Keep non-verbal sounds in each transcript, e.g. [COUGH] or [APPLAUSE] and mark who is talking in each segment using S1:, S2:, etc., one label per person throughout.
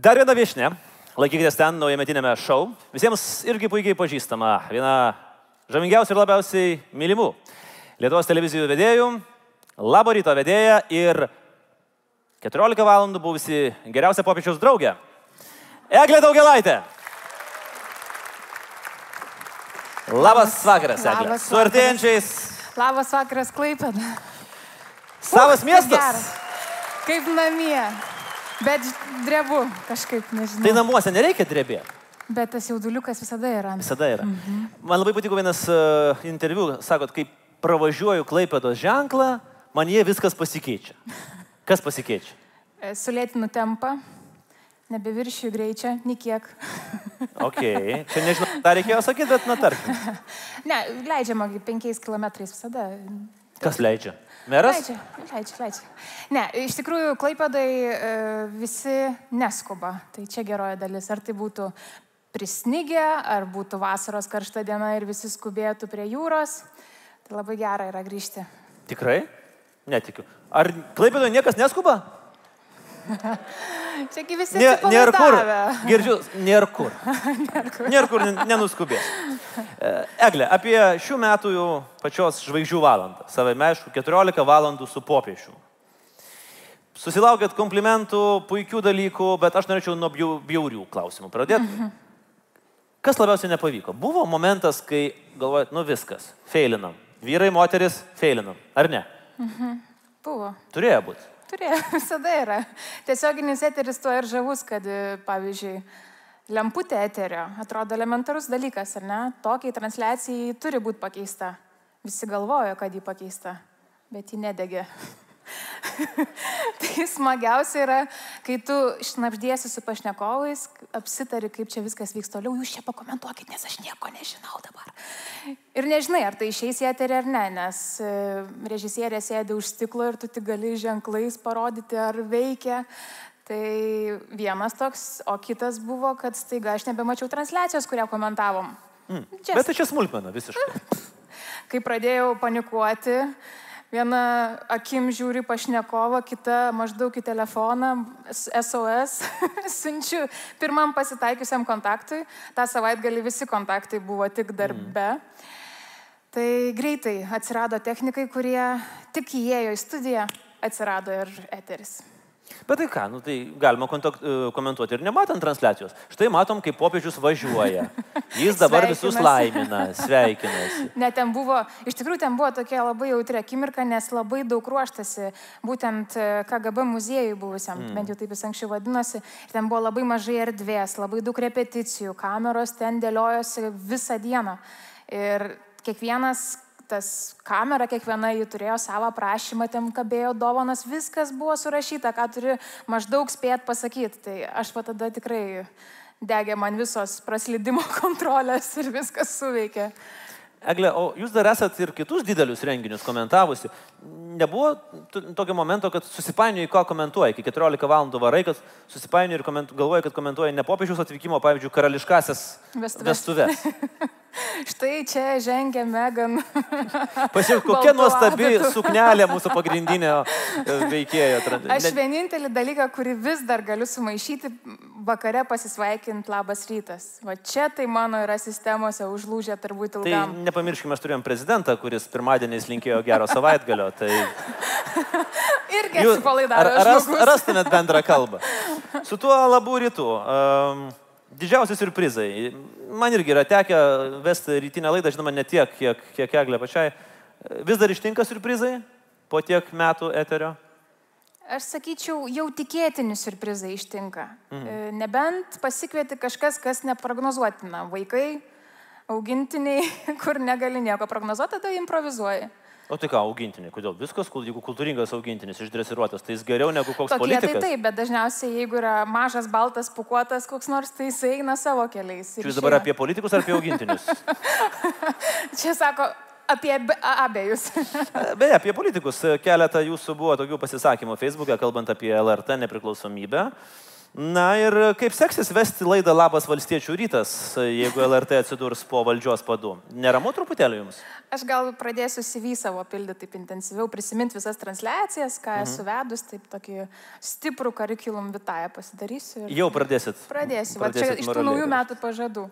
S1: Dar viena viešne, laikykitės ten naujametinėme šou. Visiems irgi puikiai pažįstama, viena žavingiausių ir labiausiai mylimų Lietuvos televizijų vedėjų, labo ryto vedėja ir 14 valandų buvusi geriausia popiečiaus draugė. Eglė Daugelaitė. Labas vakaras, Eglė.
S2: Labas
S1: Su artėjančiais.
S2: Labas vakaras, Klaipėda.
S1: Savas
S2: Uch,
S1: miestas.
S2: gera. Kaip namie. Bet drebu kažkaip, nežinau.
S1: Tai namuose nereikia drebėti.
S2: Bet tas jauduliukas visada yra.
S1: Visada yra. Man labai patiko vienas uh, interviu, sakot, kai pravažiuoju Klaipėdos ženklą, man jie viskas pasikeičia. Kas pasikeičia?
S2: E, Sulėtinu tempą, nebeviršiu greičio, nikiek.
S1: Ok, čia nežinau, tą reikėjo sakyti, bet na tarkim.
S2: [LAUGHS] Ne, leidžiama gi penkiais kilometrais visada.
S1: Kas leidžia? Meras?
S2: Leidžia, leidžia, leidžia. Ne, iš tikrųjų, Klaipėdai e, visi neskuba. Tai čia geroja dalis. Ar tai būtų prisnigę, ar būtų vasaros karšta diena ir visi skubėtų prie jūros. Tai labai gera yra grįžti.
S1: Tikrai? Netikiu. Ar Klaipėdoje niekas neskuba?
S2: Čiagi visi.
S1: Nė- Nėr kur.
S2: atsipalaidavę.
S1: Girdžiu, nėr [LAUGHS] kur. Nėr kur, nen- nenuskubės. E, Egle, apie šių metų jau pačios žvaigždžių valandą. Savai aišku, 14 valandų su popiešiu. Susilaukėt komplimentų, puikių dalykų, bet aš norėčiau nuo bjau- bjaurių klausimų pradėti. Kas labiausiai nepavyko? Buvo momentas, kai galvojat, nu viskas, feilinam. Vyrai, moteris, feilinam. Ar ne?
S2: Buvo.
S1: Turėjo būti.
S2: Turėjo, [LAUGHS] visada yra. Tiesioginis eteris tuo ir žavus, kad, e, pavyzdžiui, lemputė eterio atrodo elementarus dalykas, ar ne? Tokiai transliacijai ji turi būti pakeista. Visi galvojo, kad ji pakeista, bet ji nedegė. [LAUGHS] tai smagiausia yra, kai tu šnapždėsi su pašnekovais, apsitari, kaip čia viskas vyks toliau, jūs čia pakomentuokit, nes aš nieko nežinau dabar. Ir nežinai, ar tai išeis į eterį ar ne, nes e, režisierė sėdi už stiklo ir tu tik gali ženklais parodyti, ar veikia. Tai vienas toks, o kitas buvo, kad staiga aš nebemačiau transliacijos, kurią komentavom. Mm.
S1: Bet tai čia smulkmena visiškai.
S2: Kai pradėjau panikuoti, viena akim žiūri pašnekovą, kita maždaug į telefoną, s- [LAUGHS] SOS, siunčiu pirmam pasitaikiusiam kontaktui. Ta savaitgali visi kontaktai buvo tik darbe. Mm. Tai greitai atsirado technikai, kurie tik įėjo į studiją, atsirado ir eteris.
S1: Bet tai ką, nu, tai galima kontakt, e, komentuoti ir nematant transliacijos. Štai matom, kaip popiežius važiuoja. Jis dabar visus
S2: Sveikinasi.
S1: laimina, sveikinasi.
S2: Ne, ten buvo, iš tikrųjų ten buvo tokia labai jautri akimirka, nes labai daug ruoštasi būtent e, KGB muziejui buvusiam, mm. bent jau taip jis anksčiau vadinosi, ir ten buvo labai mažai erdvės, labai daug repeticijų, kameros ten dėliojosi visą dieną. Ir kiekvienas tas kamera, kiekviena jų turėjo savo prašymą, ten kabėjo dovanas, viskas buvo surašyta, ką turi maždaug spėt pasakyti. Tai aš va tada tikrai degė man visos praslydimo [LAUGHS] kontrolės ir viskas suveikė.
S1: Egle, o jūs dar esat ir kitus didelius renginius komentavusi. Nebuvo t- tokio momento, kad susipainioji, ką komentuoji. Iki 14 valandų varai, kad susipainioji ir komentu, galvoji, kad komentuoji ne popiežiaus atvykimo, pavyzdžiui, karališkasias
S2: Vestuves. [LAUGHS]
S1: vestuves.
S2: Štai čia žengia Megan.
S1: Pasiūk, kokia
S2: Baltų
S1: nuostabi
S2: abitų.
S1: suknelė mūsų pagrindinio e, veikėjo. Tra-
S2: Aš
S1: ne-
S2: vienintelį dalyką, kurį vis dar galiu sumaišyti, vakare pasisveikinti labas rytas. Va čia tai mano yra sistemose užlūžę turbūt
S1: Tai
S2: ilgam.
S1: nepamirškime, aš turėjom prezidentą, kuris pirmadieniais linkėjo gero savaitgalio.
S2: [LAUGHS]
S1: Tai
S2: Tai [LAUGHS] irgi atsipalaidavęs.
S1: ras,
S2: žmogus.
S1: rastumėt bendrą kalbą. Su tuo labų rytų. Um, didžiausi surprizai. Man irgi yra tekę vesti rytinę laidą, žinoma, ne tiek, kiek, kiek eglė pačiai. Vis dar ištinka surprizai po tiek metų eterio.
S2: Aš sakyčiau, jau tikėtini surprizai ištinka.
S1: Mhm.
S2: Mm. Nebent pasikvieti kažkas, kas neprognozuotina. Vaikai, augintiniai, [LAUGHS] kur negali nieko prognozuoti, tada improvizuoji.
S1: O tai ką, augintiniai, kodėl viskas, kol- jeigu kultūringas augintinis išdresiruotas, tai jis geriau negu koks
S2: Tokie tai
S1: politikas.
S2: taip, bet dažniausiai jeigu yra mažas, baltas, pukuotas, koks nors, tai jis eina savo keliais. ir
S1: Čia jūs dabar
S2: išeina.
S1: apie politikus ar apie
S2: [LAUGHS]
S1: augintinius?
S2: Čia sako apie ab- a- abejus. [LAUGHS]
S1: E, Beje, apie politikus. Keletą jūsų buvo tokių pasisakymų Facebook'e, kalbant apie LRT nepriklausomybę. Na ir kaip seksis vesti laidą Labas valstiečių rytas, jeigu LRT atsidurs po valdžios padu? Neramu truputėlį jums?
S2: Aš gal pradėsiu CV savo pildyti taip intensyviau, prisiminti visas transliacijas,
S1: Mhm.
S2: ką esu vedus, taip tokį stiprų karikulum vitają pasidarysiu. ir-
S1: Jau pradėsit.
S2: Pradėsiu. Va, čia
S1: pradėsit
S2: iš tų
S1: moraliai Mhm.
S2: naujų
S1: ruoštis.
S2: metų pažadų.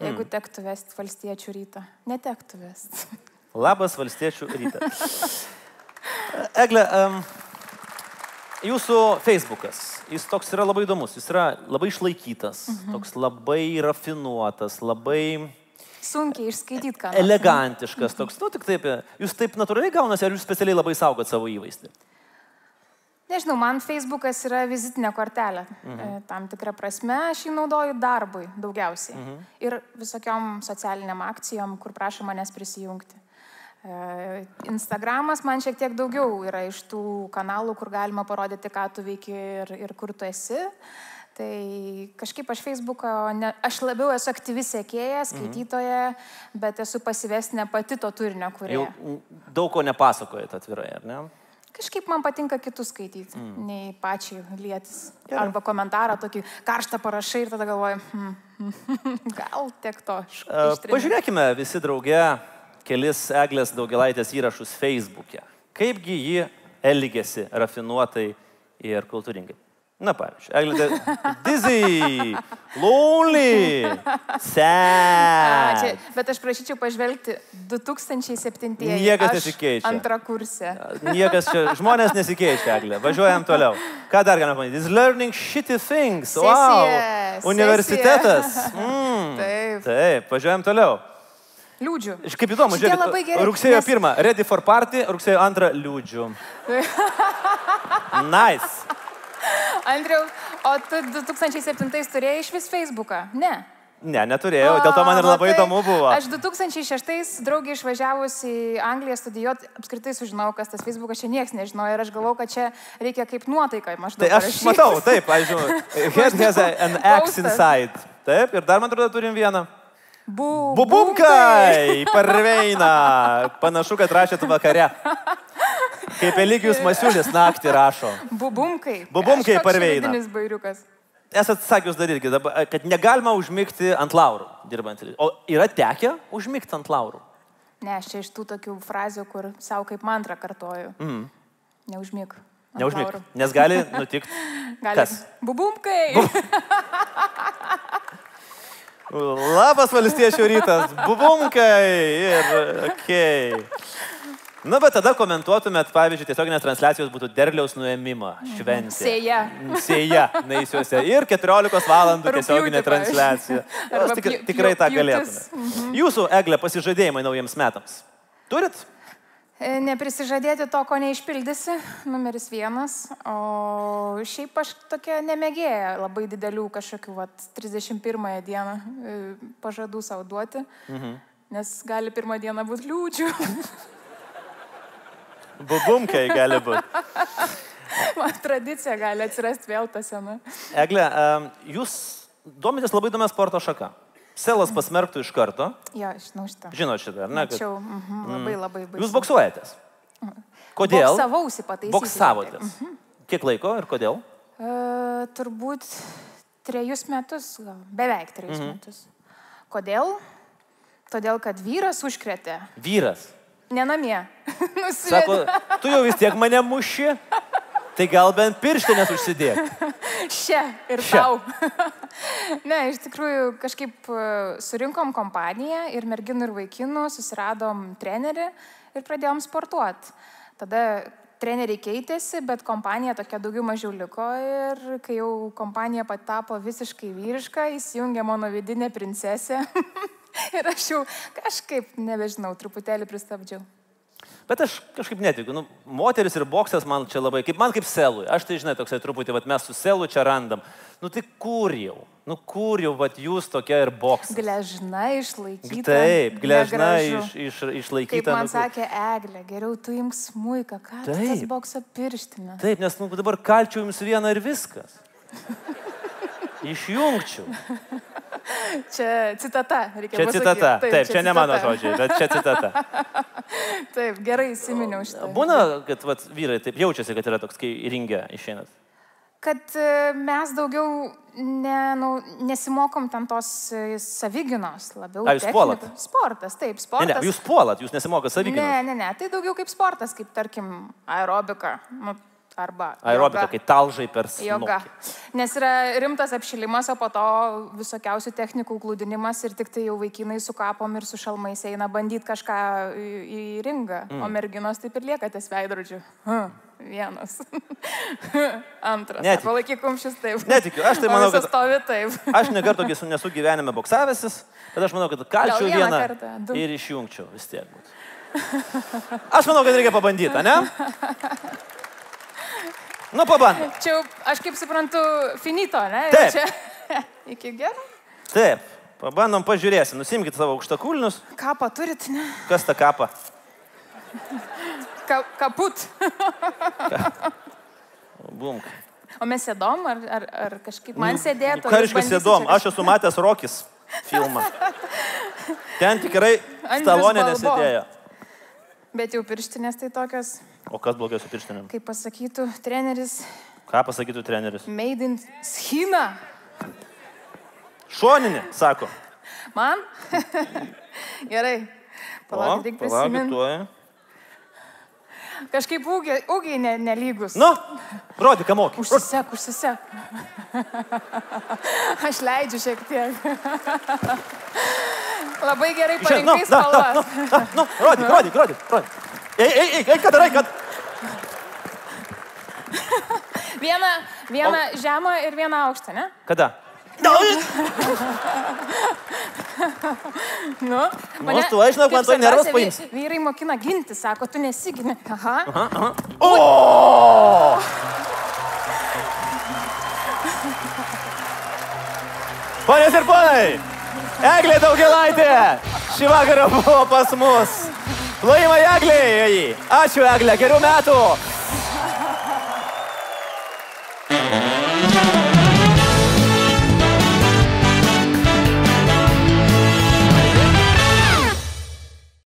S2: Jeigu tektų vesti valstiečių rytą. Netektų vesti.
S1: Labas valstiečių rytas. [LAUGHS] Egle, um, jūsų Facebookas, jis toks yra labai įdomus, jis yra labai išlaikytas,
S2: Mhm.
S1: toks labai rafinuotas, labai
S2: [LAUGHS] Sunkiai išskaityti, ką. nors.
S1: elegantiškas, toks, nu tik taip, jūs taip natūraliai gaunasi, ar jūs specialiai labai saugot savo įvaizdį?
S2: Nežinau, man Facebookas yra vizitinė kortelė. Mhm. Tam tikrą prasme aš jį naudoju darbui daugiausiai. Mhm. Ir visokiom socialiniam akcijom, kur prašo manęs prisijungti. E, Instagramas man šiek tiek daugiau yra iš tų kanalų, kur galima parodyti, ką tu veiki ir, ir kur tu esi. Tai kažkaip aš Facebooką, ne, aš labiau esu aktyvi sekėja, skaitytoja, mhm. bet esu pasivesnė pati to turinio, kurį...
S1: Jau mm, daug ko nepasakojat atvirai, ar ne?
S2: Kažkaip man patinka kitus skaityti, mm. nei pačiai lietis. Arba komentarą tokį karštą parašai ir tada galvoju, hmm, gal tiek to. iš-
S1: E,
S2: ištrinti."
S1: Pažiūrėkime visi drauge kelis Eglės daugelaitės įrašus Facebook'e. Kaipgi ji elgėsi rafinuotai ir kultūringai. Na, pavyzdžiui, Eglė.
S2: [LAUGHS]
S1: Dizzy, lonely,
S2: A, čia,
S1: sad.
S2: bet aš prašyčiau pažvelgti 2007.
S1: Niekas
S2: Aš
S1: nesikeičia.
S2: Antrą kursę.
S1: Niekas čia, žmonės nesikeičia, Eglė. Važiuojam toliau. Ką dar galima pamatyti? Is learning shitty things.
S2: Sesija,
S1: Wow.
S2: sesija.
S1: Universitetas. Mm.
S2: Taip.
S1: Taip, važiuojam toliau.
S2: Liūdžiu.
S1: Iš- Kaip įdomu,
S2: Šitie
S1: žiūrėk,
S2: labai geri,
S1: rugsėjo
S2: nes-
S1: 1, ready for party, rugsėjo 2, liūdžiu.
S2: [LAUGHS]
S1: Nice.
S2: Andriau, o tu 2007 turėjai iš vis Facebooką? Ne.
S1: Ne, neturėjau, dėl to man ir
S2: A,
S1: labai
S2: matai,
S1: įdomu buvo.
S2: tai Aš 2006 draugį išvažiavus į Angliją studijuoti, apskritai sužinojau, kas tas Facebookas čia niekas nežinojo ir aš galvojau, kad čia reikia kaip nuotaikai maždaug.
S1: Tai aš
S2: parašyt.
S1: matau, taip, aš
S2: [LAUGHS]
S1: žinau. Head has a- an axe
S2: Paustas.
S1: inside. Taip, ir dar man atrodo turim vieną.
S2: Bu,
S1: Bubumkai, parveina. Panašu, kad rašėt vakare. Kaip Eligijus Masiulis naktį rašo.
S2: Bubumkai.
S1: Bubumkai
S2: Kažkoks
S1: parveina.
S2: šiandieninis bairiukas.
S1: Esat sakius dar irgi, dabar, kad negalima užmygti ant laurų dirbant. O yra tekę užmygti ant laurų.
S2: Ne, aš čia iš tų tokių frazių, kur savo kaip mantrą kartoju. Mm. Neužmyk. ant
S1: Neužmygti.
S2: laurų.
S1: Nes gali nutikti.
S2: Gali.
S1: Kas?
S2: Bubumkai.
S1: Labas valstiečių rytas, bubumkai ir okei. Okay. Na, bet tada komentuotumėt, pavyzdžiui, tiesioginės transliacijos būtų derliaus nuėmimą šventė.
S2: Sėja.
S1: Sėja, naisiuose. Ir 14 valandų
S2: Rugpjūtį,
S1: tiesioginė
S2: pavyzdžiui.
S1: transliacija.
S2: Arba
S1: Jūs tik,
S2: pju-
S1: tikrai tą
S2: pjūtis. Mhm.
S1: galėtumėte. Jūsų, Egle, pasižadėjimai naujiems metams. Turit?
S2: E, Neprisižadėti to, ko neišpildysi, numeris vienas. O šiaip aš tokia nemėgėja labai didelių kažkokių, va, 31 dieną e, pažadų savo duoti, mhm. nes gali pirmą dieną būti liūčių.
S1: Bubumkai gali būti.
S2: [LAUGHS] Man tradicija gali atsirasti vėl ta sena.
S1: Egle, em, jūs domitės labai įdomią sporto šaką. Selas pasmerktų iš karto.
S2: Jo, žinau šitą.
S1: Žinot šitą, ar ne? kad-
S2: Tačiau mhm, labai labai Mhm. baisu.
S1: Jūs boksuojatės. Kodėl?
S2: Boksavausi pataisyti.
S1: Boksavotės.
S2: Mhm.
S1: Kiek laiko ir kodėl?
S2: E, turbūt trejus metus, gal beveik trejus mhm. metus. Kodėl? Todėl, kad vyras užkretė.
S1: Vyras.
S2: Ne namie. [LAUGHS] Nu, Nusivedė.
S1: Sako, tu jau vis tiek mane muši, tai gal bent pirštinės užsidėk.
S2: Šia ir
S1: Še.
S2: Šia. tau. [LAUGHS] ne, iš tikrųjų kažkaip e, surinkom kompaniją ir merginų ir vaikinų, susiradom trenerį ir pradėjom sportuoti. Tada treneriai keitėsi, bet kompanija tokia daugiau mažiau liko ir kai jau kompanija patapo visiškai vyriška, įsijungė mano vidinė princesė. [LAUGHS] ir aš jau kažkaip, nebežinau, truputėlį pristabdžiau.
S1: Bet aš kažkaip netikiu. Nu, moteris ir boksas man čia labai, kaip, man kaip selui. Aš tai žinai, toksai truputį, vat, mes su selu čia randam. Nu tai kur jau? Nu kur jau, vat, jūs tokia ir boksas?
S2: Gležna išlaikyta.
S1: Taip, gležna
S2: negražu.
S1: iš, iš,
S2: Kaip
S1: išlaikyta.
S2: man
S1: nu, kur-
S2: sakė Eglė, geriau tu imk smuiką, ką tu tas
S1: Taip.
S2: bokso pirštinė.
S1: Taip, nes nu, dabar kalčiau jums vieną ir viskas. Išjungčiau.
S2: Čia citata, reikia
S1: Čia
S2: pasakyt.
S1: citata. Taip, čia, čia ne mano
S2: citata.
S1: žodžiai, bet čia citata.
S2: [LAUGHS] Taip, gerai įsiminiau šitą.
S1: Būna, kad vat, vyrai taip jaučiasi, kad yra toks, kai ringia išeinat.
S2: kad e, mes daugiau ne, nu, nesimokom ten tos e, savigynos labiau.
S1: A, jūs puolat?
S2: technikų. Sportas, taip,
S1: Ne,
S2: sportas.
S1: ne, jūs puolat, jūs nesimokat
S2: ne,
S1: savyginos.
S2: ne, ne, tai daugiau kaip sportas, kaip tarkim aerobika. Nu, arba.
S1: Aerobika,
S2: joga.
S1: kai talžai per
S2: Joga.
S1: snukį.
S2: Nes yra rimtas apšilimas, o po to visokiausių technikų glūdinimas ir tik tai jau vaikinai su kapom ir su šalmais eina bandyti kažką į, į ringą, mm. o merginos taip ir lieka ties veidrodžiu. Huh, Vienas. [LAUGHS] Antras.
S1: Netikiu.
S2: Palaikyk kumščius taip.
S1: Netikiu. Aš tai
S2: [LAUGHS] O
S1: manau,
S2: visas
S1: kad-
S2: Stovi taip.
S1: Aš nekartą tokiu esu- nesu gyvenime boksavęsis, bet aš manau, kad kalčiau
S2: vieną
S1: vieną
S2: kartą, du.
S1: ir išjungčiau vis tiek. Būtų. Aš manau, kad reikia pabandyti, ne? Nu, pabandom.
S2: Čia jau, aš kaip suprantu, finito, ne? Ir
S1: Taip.
S2: Čia... [LAUGHS] Iki gero.
S1: Taip, pabandom, pažiūrėsim. Nusimkit savo aukštakulnius,
S2: Kapą turit, ne?
S1: kas tą kapą.
S2: Ka kaput.
S1: Bumk.
S2: O mes sėdom, ar, ar, ar kažkaip
S1: Nu,
S2: man sėdėtų? ar jūs
S1: Kariškas
S2: bandysit
S1: įdomu,
S2: čia
S1: aš esu matęs Rokis filmą. Ten tikrai
S2: Andrius
S1: stalonė
S2: Balbo.
S1: nesėdėjo.
S2: Bet jau pirštinės tai tokios,
S1: O kas blogai su pirštinėm?
S2: kaip pasakytų treneris,
S1: Ką pasakytų treneris?
S2: made in Schina.
S1: Šoninė, sako.
S2: Man? [LAUGHS] Gerai. Palaukit, reikia prisiminti.
S1: tuoj.
S2: Kažkaip ūgiai, ūgiai ne, nelygus.
S1: Nu, rodyk, ką moki.
S2: Užsisek, užsisek. [LAUGHS] Aš leidžiu šiek tiek. [LAUGHS] Labai gerai
S1: Išėjo, nu,
S2: parinkai
S1: na, na, na,
S2: spalvas.
S1: na, nu, rodyk, rodyk, rodyk, rodyk. Ei, ei, ei, ei, ką darai, kad...
S2: Vieną, vieną žemą ir vieną aukštą, ne?
S1: Kada?
S2: Nu,
S1: aš tu, aš žinau,
S2: kaip
S1: man tuoj nervus
S2: svarbiausia, vy-
S1: paims.
S2: Vyrai mokina ginti, sako, tu nesigini. Aha.
S1: Aha, aha. O! Ponios ir ponai, Eglė Daugelaitė šį vakarą buvo pas mus. Plojimai Egliai! Ačiū Eglė, gerų metų!